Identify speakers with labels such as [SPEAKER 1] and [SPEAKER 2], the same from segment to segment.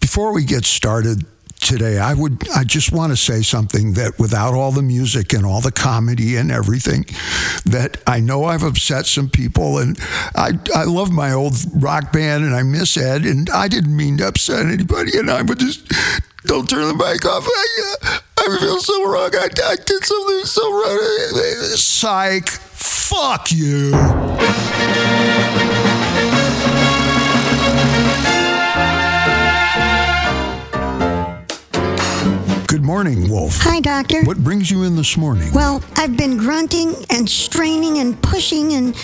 [SPEAKER 1] before we get started today, I would I just want to say something that without all the music and all the comedy and everything, that I know I've upset some people and I I love my old rock band and I miss Ed and I didn't mean to upset anybody and I would just don't turn the mic off. I, uh, I feel so wrong. I, I did something so wrong. Psych. Fuck you. Good morning, Wolf.
[SPEAKER 2] Hi, Doctor.
[SPEAKER 1] What brings you in this morning?
[SPEAKER 2] Well, I've been grunting and straining and pushing, and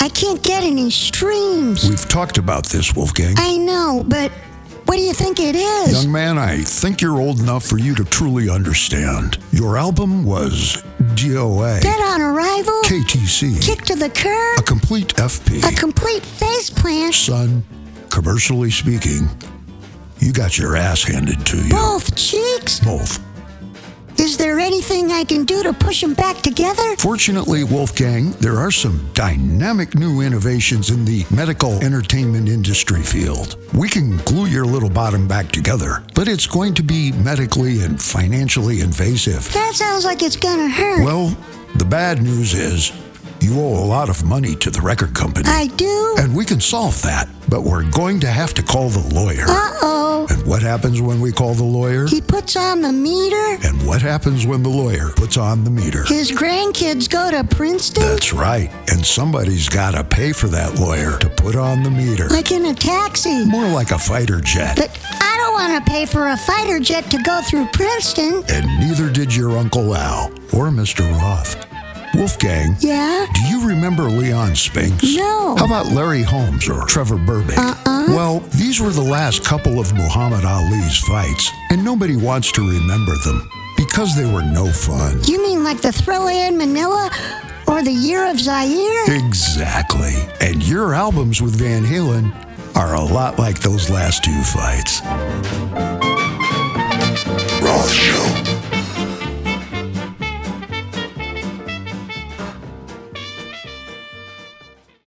[SPEAKER 2] I can't get any streams.
[SPEAKER 1] We've talked about this, Wolfgang.
[SPEAKER 2] I know, but what do you think it is?
[SPEAKER 1] Young man, I think you're old enough for you to truly understand. Your album was DOA,
[SPEAKER 2] Dead on arrival?
[SPEAKER 1] KTC,
[SPEAKER 2] Kick to the curb?
[SPEAKER 1] a complete FP.
[SPEAKER 2] A complete face plant?
[SPEAKER 1] Son, commercially speaking, you got your ass handed to you.
[SPEAKER 2] Both cheeks?
[SPEAKER 1] Both.
[SPEAKER 2] Is there anything I can do to push them back together?
[SPEAKER 1] Fortunately, Wolfgang, there are some dynamic new innovations in the medical entertainment industry field. We can glue your little bottom back together, but it's going to be medically and financially invasive.
[SPEAKER 2] That sounds like it's gonna hurt.
[SPEAKER 1] Well, the bad news is you owe a lot of money to the record company,
[SPEAKER 2] I do?
[SPEAKER 1] and we can solve that, but we're going to have to call the lawyer.
[SPEAKER 2] Uh oh.
[SPEAKER 1] And what happens when we call the lawyer?
[SPEAKER 2] He puts on the meter?
[SPEAKER 1] And what happens when the lawyer puts on the meter?
[SPEAKER 2] His grandkids go to Princeton?
[SPEAKER 1] That's right. And somebody's got to pay for that lawyer to put on the meter.
[SPEAKER 2] Like in a taxi?
[SPEAKER 1] More like a fighter jet.
[SPEAKER 2] But I don't want to pay for a fighter jet to go through Princeton.
[SPEAKER 1] And neither did your Uncle Al or Mr. Roth. Wolfgang,
[SPEAKER 2] Yeah?
[SPEAKER 1] do you remember Leon Spinks?
[SPEAKER 2] No.
[SPEAKER 1] How about Larry Holmes or Trevor Burbank? Uh-uh. Well, these were the last couple of Muhammad Ali's fights, and nobody wants to remember them because they were no fun.
[SPEAKER 2] You mean like the throw in Manila or the year of Zaire?
[SPEAKER 1] Exactly. And your albums with Van Halen are a lot like those last two fights. Roth Show.